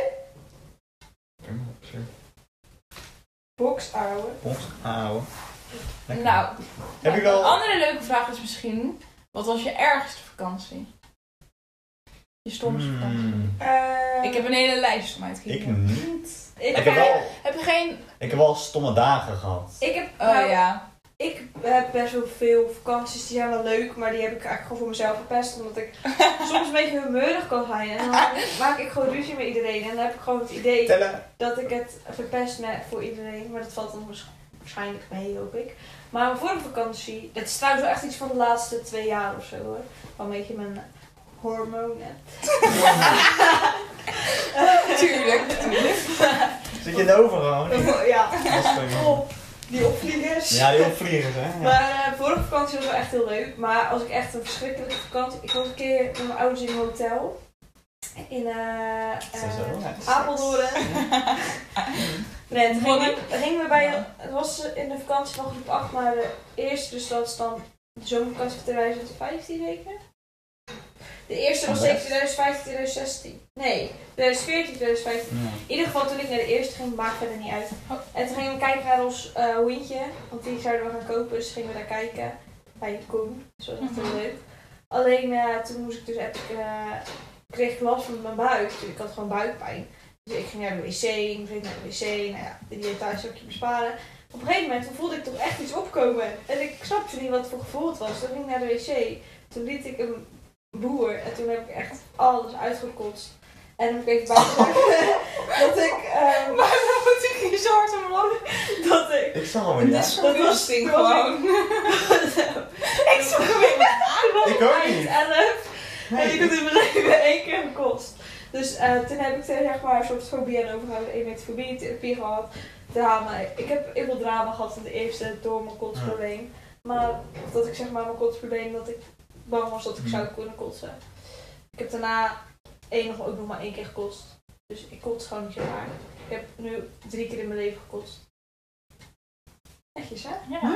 S2: Helemaal op zich.
S5: Box, ouwe.
S2: Ons houden. Lekker.
S1: Nou,
S2: Heb ik
S1: een
S2: al...
S1: andere leuke vraag is misschien... Wat was je ergste vakantie? Je stomste vakantie.
S2: Hmm,
S5: Eh,
S1: Ik heb een hele lijst om uit te
S2: ik
S1: kiezen.
S2: niet.
S5: ik,
S2: Ik heb,
S5: heb,
S2: wel,
S1: Heb je geen...
S2: ik heb wel stomme dagen gehad.
S5: ik heb,
S1: Oh
S5: nou,
S1: ja.
S5: ik heb best wel veel vakanties, die zijn wel leuk, maar die heb ik eigenlijk gewoon voor mezelf verpest. Omdat ik soms een beetje humeurig kan zijn. En dan maak ik gewoon ruzie met iedereen. En dan heb ik gewoon het idee
S2: Tellen.
S5: dat ik het verpest me voor iedereen. Maar dat valt dan waarsch- waarschijnlijk mee, hoop ik. Maar mijn vorige vakantie, dat is trouwens wel echt iets van de laatste twee jaar of zo hoor. Wel een beetje mijn hormonen.
S1: Tuurlijk, natuurlijk.
S2: Zit je in de overgang? of niet?
S5: ja,
S2: Dat is van je-
S5: op. Die opvliegers.
S2: Ja, die opvliegers, hè? Ja.
S5: Maar eh, vorige vakantie was wel echt heel leuk. Maar als ik echt een verschrikkelijke vakantie... Ik was een keer met mijn ouders in een hotel. In eh,
S2: Dat is
S5: eh,
S2: wel leuk.
S1: ah.
S5: Apeldoorn. Nee, toen gingen we, toen gingen we bij... Het was eh, in de vakantie van groep 8 naar de eerste. Dus dat is dan de zomervakantie van 2015 zeker. De eerste was zeker 2015, 2016. Nee, 2014, 2015.
S2: Ja.
S5: In ieder geval toen ik naar de eerste ging, maakt verder niet uit. En toen gingen we kijken naar ons eh hoentje, want die zouden we gaan kopen. Dus gingen we daar kijken bij Koen. Dus dat was echt heel leuk. Alleen eh, toen moest ik dus echt, eh, kreeg ik last van mijn buik. Dus ik had gewoon buikpijn. Dus ik ging naar de wc, ik ging naar de wc. Nou ja, die details zou ik je besparen. Op een gegeven moment toen voelde ik toch echt iets opkomen. En ik snapte niet wat het voor gevoel het was. Toen ging ik naar de wc. Toen liet ik een boer. En toen heb ik echt alles uitgekotst. En dan heb ik even bijgezegd dat ik... ehm,
S1: Waarom moet ik hier zo hard om lachen?
S5: dat ik.
S2: Ik zal wel
S1: Dit
S2: weer
S1: is
S2: ja.
S1: verwoesting
S5: dat was-
S1: gewoon.
S5: ik schrok hem in mijn aan.
S2: Ik ook niet.
S5: En ik had in mijn leven één keer gekost. Dus eh, toen heb ik er, zeg maar een soort fobie aan overgehouden. Ik met fobie, therapie gehad. Drama. Ik heb heel veel drama gehad in de eerste door mijn
S2: Ah.
S5: kotsprobleem. Maar dat ik zeg maar mijn kotsprobleem, dat ik bang was
S2: Hmm.
S5: dat ik zou kunnen kotsen. Ik heb daarna één nog ook nog maar één keer gekost. Dus ik kots gewoon niet zo vaak. Ik heb nu drie keer in mijn leven gekost. Netjes hè?
S1: Ja.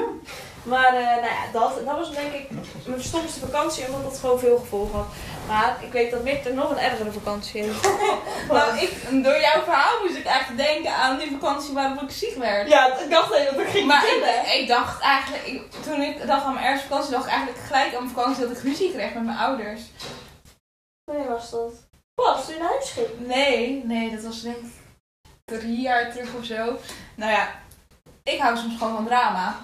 S5: Maar eh, nou ja, dat, dat was denk ik mijn stomste vakantie, omdat dat gewoon veel gevolgen had. Maar ik weet dat Victor nog een ergere vakantie heeft.
S1: Nou, ik, door jouw verhaal moest ik eigenlijk denken aan die vakantie waarop ik ziek werd.
S5: ja, ik dacht even dat ik ging
S1: Maar
S5: vertellen.
S1: ik, ik dacht eigenlijk, ik- toen ik dacht aan mijn eerste vakantie, dacht ik eigenlijk gelijk aan mijn vakantie dat ik ruzie kreeg met mijn ouders.
S5: Wanneer was dat? Pas, toen je naar huis ging.
S1: Nee, nee, dat was denk ik drie jaar terug of zo. Nou ja, ik hou soms gewoon van drama.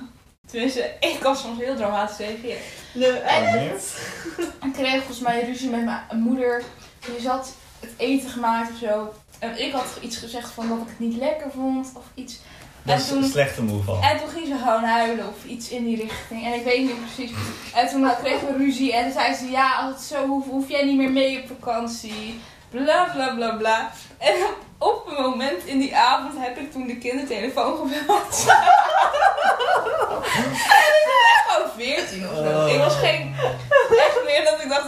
S1: Tenminste, ik kan soms heel dramatisch reageren.
S5: De,
S2: Oh, meer?
S1: Ik kreeg volgens mij ruzie met mijn moeder. Die zat het eten gemaakt of zo. En ik had iets gezegd van dat ik het niet lekker vond of iets.
S2: Dat
S1: En
S2: is
S1: toen-
S2: een slechte move al.
S1: En toen ging ze gewoon huilen of iets in die richting. En ik weet niet precies. En toen kregen we ruzie. En toen zei ze, ja, als het zo hoeft, hoef jij niet meer mee op vakantie. Bla bla bla bla. En op een moment in die avond heb ik toen de kindertelefoon gebeld. en ik was echt gewoon 14 of zo. Ik
S2: Oh.
S1: was geen. Echt meer dat ik dacht.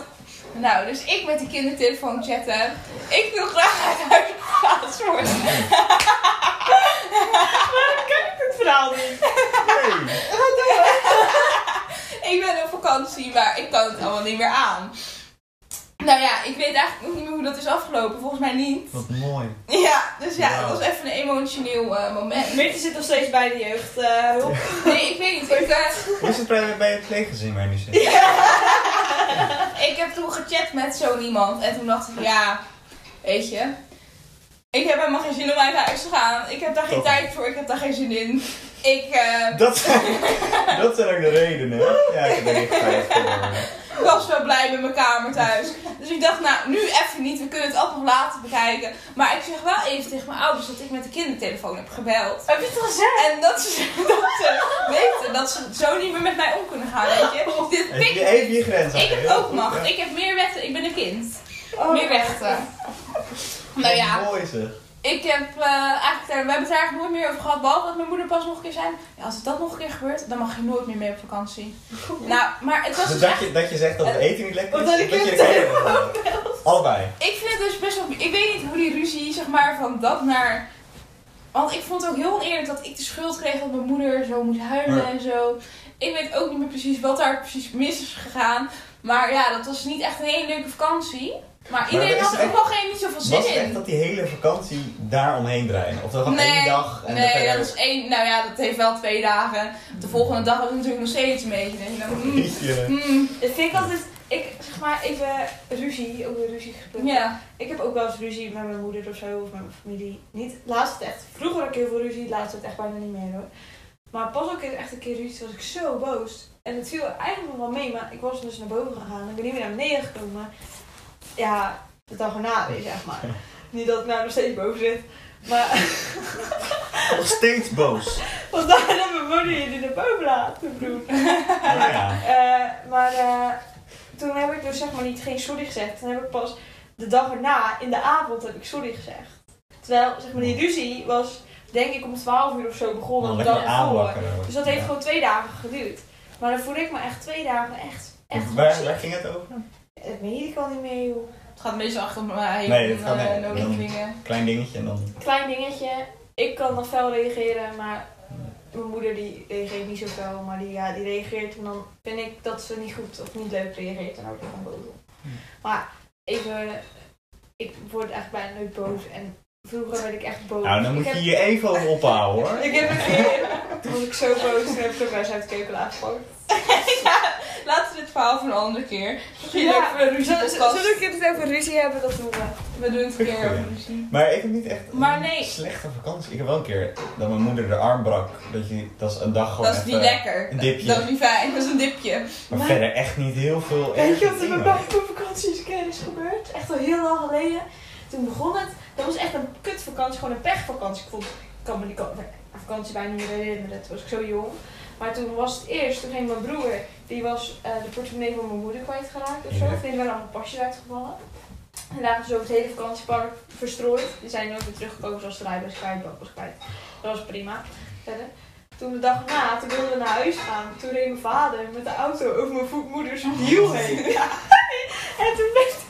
S1: Nou, dus ik met de kindertelefoon chatten. Ik wil graag uit huis geplaatst worden.
S4: Het verhaal niet.
S2: Nee.
S1: Ik ben op vakantie, maar ik kan het allemaal niet meer aan. Nou ja, ik weet eigenlijk ook niet meer hoe dat is afgelopen. Volgens mij niet.
S2: Wat mooi.
S1: Ja, dus ja,
S2: Wauw.
S1: dat was even een emotioneel eh, moment.
S4: Mitte zit nog steeds bij de jeugd. eh, hulp.
S1: Nee, ik weet niet. Ik, eh,
S2: Hoe is het bij, bij het pleeggezin waar je nu zit?
S1: ik heb toen gechat met zo iemand. En toen dacht ik, ja, weet je. Ik heb helemaal geen zin om uit huis te gaan. Ik heb daar geen
S2: Toch.
S1: tijd voor. Ik heb daar geen zin in. Ik eh,
S2: Dat zijn, dat zijn ook de redenen. Ja, ik denk ik ga even...
S1: was wel blij met mijn kamer thuis. Dus ik dacht, nou, nu even niet. We kunnen het altijd nog later bekijken. Maar ik zeg wel even tegen mijn ouders dat ik met de kindertelefoon heb gebeld.
S3: Heb je het gezegd?
S1: En dat ze, dat ze weten dat ze zo niet meer met mij om kunnen gaan, weet
S3: Oh.
S1: je. Dit
S2: Heb je
S1: pikt-
S2: even je grens
S1: Ik heb
S2: aangegeven?
S1: ook macht.
S2: Ja.
S1: Ik heb meer rechten. Ik ben een kind.
S5: Oh.
S1: Meer rechten. Nou ja,
S2: Wat mooi zeg.
S1: ik heb eh, eigenlijk... daar- We hebben het daar eigenlijk nooit meer over gehad. Behalve dat mijn moeder pas nog een keer zei... Ja, als het dat nog een keer gebeurt, dan mag je nooit meer mee op vakantie. Nou, maar het was...
S2: Dus
S1: dus
S2: dat,
S1: echt-
S2: je, dat je zegt dat het eten niet lekker is,
S4: Omdat
S2: of
S4: ik
S2: dat je
S4: het
S2: de kamer wil halen. Allebei.
S1: Ik vind het dus best wel... Ik weet niet hoe die ruzie, zeg maar, van dat naar... Want ik vond het ook heel oneerlijk dat ik de schuld kreeg dat mijn moeder zo moest huilen
S2: Ja.
S1: en zo. Ik weet ook niet meer precies wat daar precies mis is gegaan. Maar ja, dat was niet echt een hele leuke vakantie. Maar, iedereen
S2: is
S1: had
S2: het
S1: er ook
S2: echt-
S1: wel geen niet zoveel zin
S2: Was het
S1: in.
S2: echt dat die hele vakantie daar omheen draaien? Of dat gewoon één dag en dan
S1: nee,
S2: verder-
S1: dat is één. Nou ja, dat heeft wel twee dagen. De volgende dag was het natuurlijk nog steeds een beetje. denk je dan, mm,
S2: Jeetje.
S1: mm,
S5: Ik vind ik altijd, ik zeg maar even ruzie, over ruzie gesproken.
S1: ja.
S5: Ik heb ook wel eens ruzie met mijn moeder of zo, of met mijn familie. Niet, laatst het echt. Vroeger had ik heel veel ruzie, laatst het echt bijna niet meer hoor. Maar pas ook echt een keer ruzie, toen was ik zo boos. En het viel eigenlijk nog wel mee, maar ik was dus naar boven gegaan. Ik ben niet meer naar beneden gekomen. Ja, de dag erna weer, zeg maar. Niet dat ik nou nog steeds boven zit. Maar
S2: Nog steeds boos.
S5: want daarna mijn moeder jullie naar boven laten doen.
S2: Nou ja.
S5: Eh, maar eh, toen heb ik dus zeg maar niet geen sorry gezegd. Toen heb ik pas de dag erna, in de avond, heb ik sorry gezegd. Terwijl zeg maar die ruzie was denk ik om 12 uur of zo begonnen.
S2: Dan
S5: de dag
S2: Nou, lekker
S5: ervoor.
S2: aanwakkeren.
S5: Dus dat heeft
S2: Ja.
S5: gewoon twee dagen geduurd. Maar dan voelde ik me echt twee dagen echt, echt
S2: Waar,
S5: ziek.
S2: waar ging het over?
S5: Dat weet ik al niet meer joh.
S1: Het gaat meestal achter mij.
S2: Nee, dat
S1: om,
S2: gaat
S1: eh,
S2: niet.
S1: nodige
S2: Dan-
S1: dingen.
S2: Klein dingetje en dan...
S5: Klein dingetje. Ik kan nog fel reageren, maar mijn moeder die reageert niet zo fel. Maar die, ja, die reageert en dan vind ik dat ze niet goed of niet leuk reageert. En dan word ik gewoon boos. op.
S2: Hmm.
S5: Maar even, ik word echt bijna nooit boos. En vroeger werd ik echt boos.
S2: Nou, dan moet
S5: ik
S2: je
S5: heb,
S2: je even over ophouden hoor.
S5: Ik heb een keer, toen was ik zo boos, toen heb ik de huis uit de keuken aangepakt.
S1: Laten we dit verhaal voor een andere keer. Misschien
S5: Ja,
S1: leuk voor een ruzie
S5: Zullen zullen we een keer het over ruzie hebben? Dat doen we.
S1: We doen het een keer over
S2: Ja.
S1: ruzie.
S2: Maar ik heb niet echt een
S1: Maar nee.
S2: slechte vakantie. Ik heb wel een keer dat mijn moeder de arm brak. Dat, je, dat is een dag gewoon
S1: Dat is niet
S2: even-
S1: lekker.
S2: een dipje.
S1: Dat is niet fijn. Dat is een dipje.
S2: Maar,
S5: Maar-
S2: verder echt niet heel veel
S5: Weet
S2: erge
S5: je wat er bij
S2: dingen.
S5: mij op vakantie eens een keer is gebeurd? Echt al heel lang geleden. Toen begon het. Dat was echt een kutvakantie, gewoon een pechvakantie. Ik, vond, ik kan me die ka- vakantie bijna niet meer herinneren. Toen was ik zo jong. Maar toen was het eerst, toen ging mijn broer, die was eh, de portemonnee van mijn moeder kwijtgeraakt of zo.
S2: Ja.
S5: Of die waren allemaal pasjes uitgevallen. En lagen ze over het hele vakantiepark verstrooid. Die zijn nooit weer teruggekomen zoals de rijbewijs kwijt was kwijt. Dat was prima. Verder. Toen de dag na, toen wilden we naar huis gaan. Toen reed mijn vader met de auto over mijn vo- moeders wiel heen. En toen bleef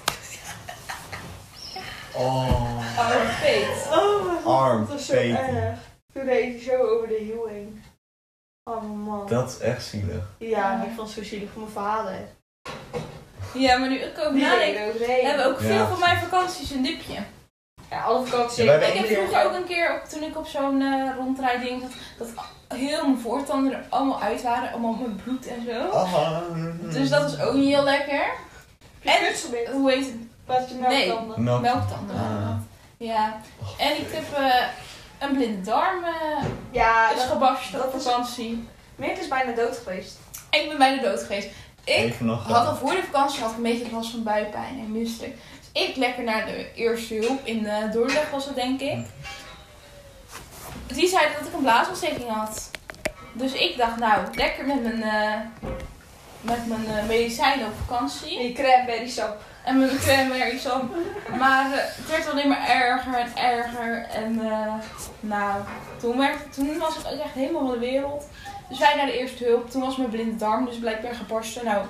S2: Oh,
S1: Oh, feest.
S5: Oh mijn god,
S2: arm,
S5: dat was zo erg. Toen reed hij zo over de hiel heen. Oh man.
S2: Dat is echt zielig.
S5: Ja, ik vond het zo zielig voor mijn vader.
S1: Ja, maar nu ik ook
S5: Die
S1: nadenk.
S5: reed ook
S1: We
S5: heen.
S1: hebben ook veel
S2: Ja.
S1: van mijn vakanties een dipje.
S5: Ja, alle vakanties.
S2: Ja, wij hebben
S1: Ik heb
S2: Eén keer.
S1: vroeger ook een keer, op, toen ik op zo'n eh rondrijding zat, dat heel mijn voortanden er allemaal uit waren, allemaal mijn bloed en
S5: Oh.
S1: zo.
S2: Ah.
S1: Dus dat is ook niet heel lekker. En,
S5: En
S1: hoe heet het?
S5: wat je nou
S1: Nee.
S5: melktanden.
S2: Melk.
S1: Melktanden. waren
S2: Ah.
S1: dat. Ja. En ik heb eh, een blinde darm eh
S5: Ja,
S1: is
S5: dat,
S1: gebarsten op
S5: dat is-
S1: vakantie.
S5: Meert is bijna dood geweest.
S1: Ik ben bijna dood geweest. Ik
S2: Even nog
S1: had al voor de vakantie had ik een beetje last van buikpijn en misselijk. Dus ik lekker naar de eerste hulp in eh, Dordrecht was dat denk ik. Die zeiden dat ik een blaasontsteking had. Dus ik dacht nou, lekker met mijn eh, met mijn eh, medicijnen op vakantie.
S5: Je cranberry sap.
S1: En mijn cranberry sap. Maar eh, het werd alleen maar erger en erger. En eh, nou, toen, werd, toen was ik ook echt helemaal van de wereld. Dus wij naar de eerste hulp. Toen was mijn blinde darm dus blijkbaar gebarsten. Nou,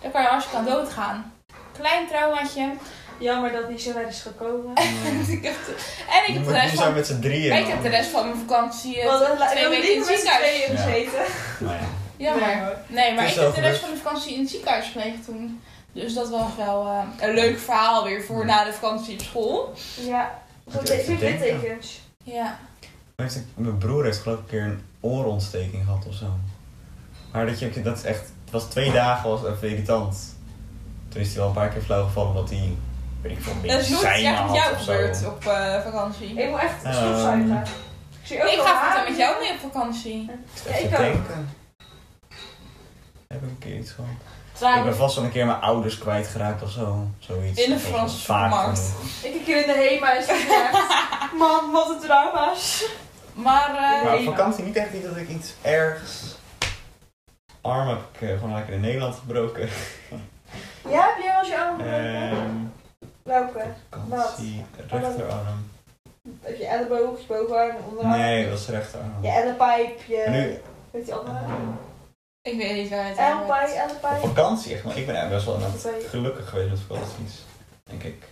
S1: daar kan je hartstikke aan doodgaan. Klein traumaatje.
S5: Jammer dat niet zo ver is gekomen.
S1: en ik heb de- en ik heb de rest
S2: zijn
S1: van,
S2: met z'n drieën.
S1: ik heb de rest van mijn vakantie eh,
S5: Want dat
S1: twee weken in het ziekenhuis.
S5: tweeën
S2: Ja.
S5: gezeten.
S2: Nou ja.
S1: Jammer. Nee, maar
S2: Het
S1: ik
S2: is
S1: heb
S2: wel
S1: de
S2: gelukt.
S1: rest van de vakantie in het ziekenhuis gelegen toen. Dus dat was wel eh, een leuk verhaal weer voor na de vakantie op school.
S5: Ja.
S2: Moet
S5: Goed,
S2: je
S5: ik
S2: even
S5: vind
S2: denken.
S5: littekens.
S1: Ja.
S2: Heeft een- Mijn broer heeft geloof ik een keer een oorontsteking gehad of zo. Maar dat, je, dat is echt, het was twee dagen was even irritant. Toen is hij wel een paar keer flauw gevallen omdat hij, weet ik veel, een
S1: Dat is
S2: beetje
S1: nooit iets
S2: seinen
S1: echt met jou
S2: had of zo.
S1: gebeurd op eh, vakantie.
S5: Ik moet echt
S2: Ehm.
S5: stofzuigen. Ik zie ook
S1: ik
S5: wel
S1: ga
S5: haren.
S1: voortaan met jou mee op vakantie.
S5: Ja,
S2: Even
S5: ik ook.
S2: denken. Heb ik een keer iets gehad? Ik ben
S1: Trouwens,
S2: vast wel een keer mijn ouders kwijtgeraakt of zo. Zoiets.
S1: In de
S2: Dat was
S1: Franse
S2: vaak
S1: supermarkt.
S2: genoeg.
S5: Ik een keer in de HEMA is gezegd. Man, wat een trauma's.
S1: maar eh,
S2: Maar op
S5: Nee.
S2: vakantie niet echt niet dat ik iets ergs... Arm heb ik eh, gewoon lekker in Nederland gebroken.
S1: Oh
S5: Ja, heb jij wel eens je arm gebroken?
S2: Ehm
S5: Welke?
S2: vakantie, rechterarm.
S5: Heb je elleboog, je bovenarm, onderarm?
S2: Nee, dat is rechterarm.
S5: Je ellepijp, je...
S2: En nu,
S5: Weet die andere?
S1: ik weet niet waar het aan
S5: Ellepijp,
S1: ligt.
S2: op
S5: ellepijp.
S2: vakantie echt, want ik ben eigenlijk best wel een-
S5: Ellepijp.
S2: gelukkig geweest met vakanties, denk ik.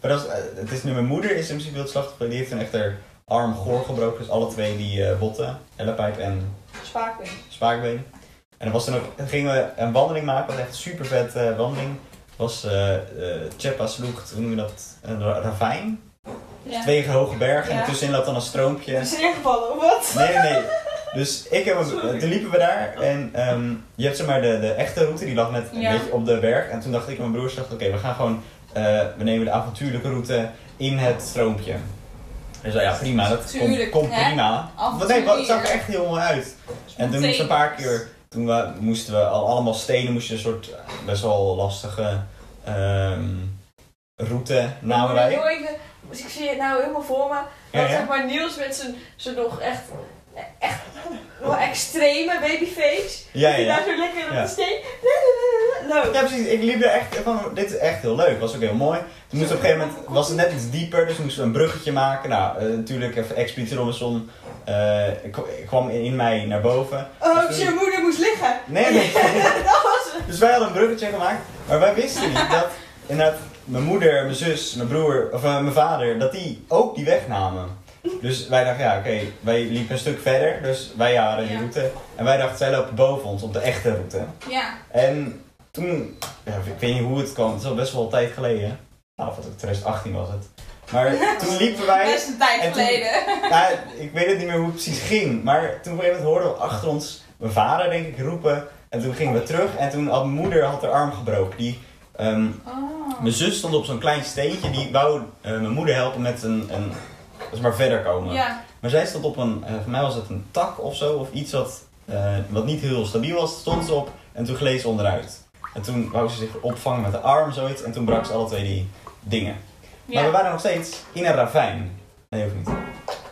S2: Maar dat is, eh, het is nu, mijn moeder is in principe het slachtoffer, die heeft een echter arm goor gebroken, dus alle twee die eh, botten, ellepijp en
S5: Spaakbeen.
S2: spaakbeen. En dan was dan ook, dan gingen we een wandeling maken, was echt een super vet eh, wandeling. was eh eh Chepa Sloeg, hoe noem je dat, een ra- ravijn.
S1: Ja.
S2: Twee hoge bergen
S1: Ja.
S2: en tussenin loopt dan een stroompje.
S5: Is er ingevallen of wat?
S2: Nee, nee, nee. Dus ik heb, hem- toen liepen we daar en ehm, je hebt zeg maar de, de echte route, die lag net een
S1: Oh. Ja.
S2: beetje op de berg. En toen dacht ik, en mijn broers dachten, oké, we gaan gewoon, eh, we nemen de avontuurlijke route in het stroompje. Dus ja, prima, dat komt
S1: Tuurlijk,
S2: komt
S1: hè?
S2: prima. Want nee,
S1: Avontuur.
S2: wat- het zag er echt heel mooi uit. En toen moesten we een paar keer, toen we, moesten we al allemaal stenen, moesten een soort eh, best wel lastige ehm, route namen
S5: Maar
S2: Nou, wij.
S5: heel even, dus ik zie het nou helemaal voor me.
S2: Ja,
S5: Dat
S2: ja.
S5: zeg maar Niels met zijn, zijn nog echt, echt wel extreme babyface.
S2: Ja, ja,
S5: Die
S2: ja.
S5: daar zo lekker op
S2: Ja.
S5: de steen.
S2: Ja,
S5: Nou,
S2: precies. Ik liep er echt van, dit is echt heel leuk. Was ook heel mooi. Toen moesten we op een gegeven moment, was het net iets dieper, dus moesten we een bruggetje maken. Nou, eh, natuurlijk even Expeditie Robinson eh, ik- ik kwam in, in mij naar boven.
S5: oh, zijn moeder moest liggen.
S2: Nee, nee.
S5: Dat was het.
S2: Dus wij hadden een bruggetje gemaakt, maar wij wisten niet dat inderdaad mijn moeder, mijn zus, mijn broer, of eh, mijn vader, dat die ook die weg namen. Dus wij dachten, ja oké, wij liepen een stuk verder, dus wij waren die
S1: Ja.
S2: route. En wij dachten, zij lopen boven ons op de echte route.
S1: Ja.
S2: En toen, ja, ik weet niet hoe het kwam, het is al best wel een tijd geleden. Nou, of het ook 2018 was het. Maar toen liepen wij,
S1: Best een tijd
S2: en toen-
S1: geleden.
S2: nou, ik weet het niet meer hoe het precies ging, maar toen op een gegeven moment hoorden we achter ons mijn vader, denk ik, roepen. En toen gingen we terug en toen had mijn moeder had haar arm gebroken. Die, ehm,
S1: Oh.
S2: mijn zus stond op zo'n klein steentje, die wou eh, mijn moeder helpen met een, een zeg maar verder komen.
S1: Ja.
S2: Maar zij stond op een, eh, voor mij was het een tak of zo, of iets wat, eh, wat niet heel stabiel was, stond ze op en toen gleed ze onderuit. En toen wou ze zich opvangen met de arm, zoiets, en toen brak ze alle twee die dingen. Maar we
S1: Ja.
S2: waren nog steeds in een ravijn. Nee, ook niet.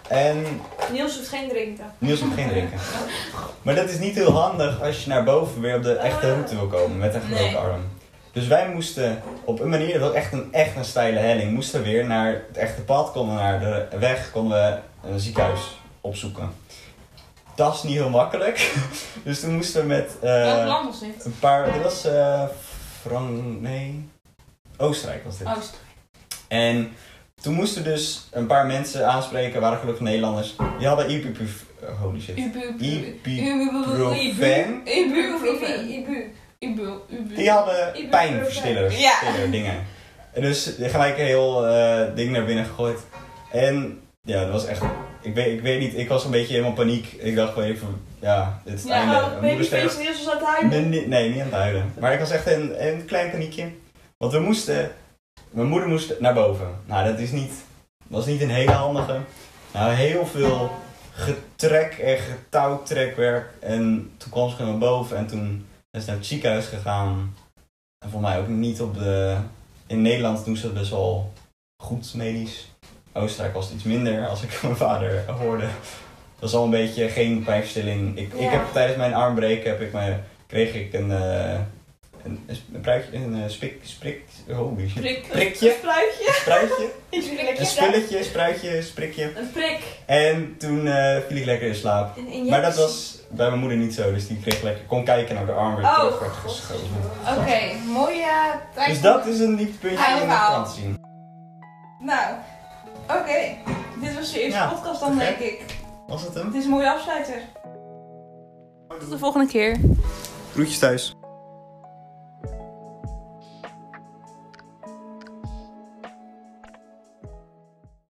S2: En
S5: Niels hoeft geen drinken.
S2: Niels moet geen drinken. Maar dat is niet heel handig als je naar boven weer op de echte route wil komen met een gebroken
S1: Nee.
S2: arm. Dus wij moesten op een manier, dat was echt een, echt een steile helling, moesten weer naar het echte pad, konden we naar de weg, konden we een ziekenhuis opzoeken. Dat is niet heel makkelijk. Dus toen moesten we met eh,
S1: Welk land was dit?
S2: een paar, dit was eh Frank, nee, Oostenrijk was dit.
S1: Oost.
S2: En toen moesten we dus een paar mensen aanspreken, waren gelukkig Nederlanders. Die hadden ibuprofen, eh, holy shit.
S1: Ubu.
S2: Ibuprofen.
S1: Ibuprofen. Ibuprofen.
S5: Ibu.
S1: Ibu. Ibu.
S2: Die hadden
S5: Ibuprofen.
S2: pijnverstillers,
S1: Ja.
S2: stiller dingen. En dus gelijk een heel eh, ding naar binnen gegooid. En ja, dat was echt... Ik weet, ik weet niet, ik was een beetje helemaal paniek. Ik dacht wel even, ja, dit is het
S1: Ja,
S2: einde.
S5: Oh,
S2: Mijn moeder sterft.
S5: babyface Niels was aan het huilen.
S2: Nee, nee, nee, niet aan het huilen. Maar ik was echt een, een klein paniekje. Want we moesten... Mijn moeder moest naar boven. Nou, dat is niet... was niet een hele handige. Nou, heel veel getrek en getouwtrekwerk. En toen kwam ze gewoon naar boven. En toen is ze naar het ziekenhuis gegaan. En voor mij ook niet op de... In Nederland doen ze dat best wel goed medisch. Oostenrijk was het iets minder, als ik mijn vader hoorde. Dat was al een beetje geen pijnstilling. Ik, ik
S5: Ja.
S2: heb tijdens mijn armbreken heb ik mijn kreeg ik een eh, Een, een sp- een pruikje, een eh, spik, sprik, oh, wie is het?
S1: Prik.
S2: prikje,
S1: Een spruitje.
S2: een spruitje,
S1: Een sprikje.
S2: een spulletje, een spruitje, een sprikje.
S1: Een prik.
S2: En toen eh, viel ik lekker in slaap.
S1: Een injectie.
S2: Maar dat was bij mijn moeder niet zo, dus die kreeg lekker, kon kijken naar de arm weer
S1: Oh,
S2: terug werd geschoven.
S1: Oké, mooie tijd.
S2: Dus dat is een dieptepuntje
S1: Hij
S2: in het
S1: verhaal.
S2: Frans zien.
S1: Nou, oké. Dit was de eerste
S2: Ja,
S1: podcast dan,
S2: te
S1: denk
S2: gek.
S1: ik.
S2: Was dat hem?
S1: Het is een mooie afsluiter. Tot de volgende keer.
S2: Groetjes thuis.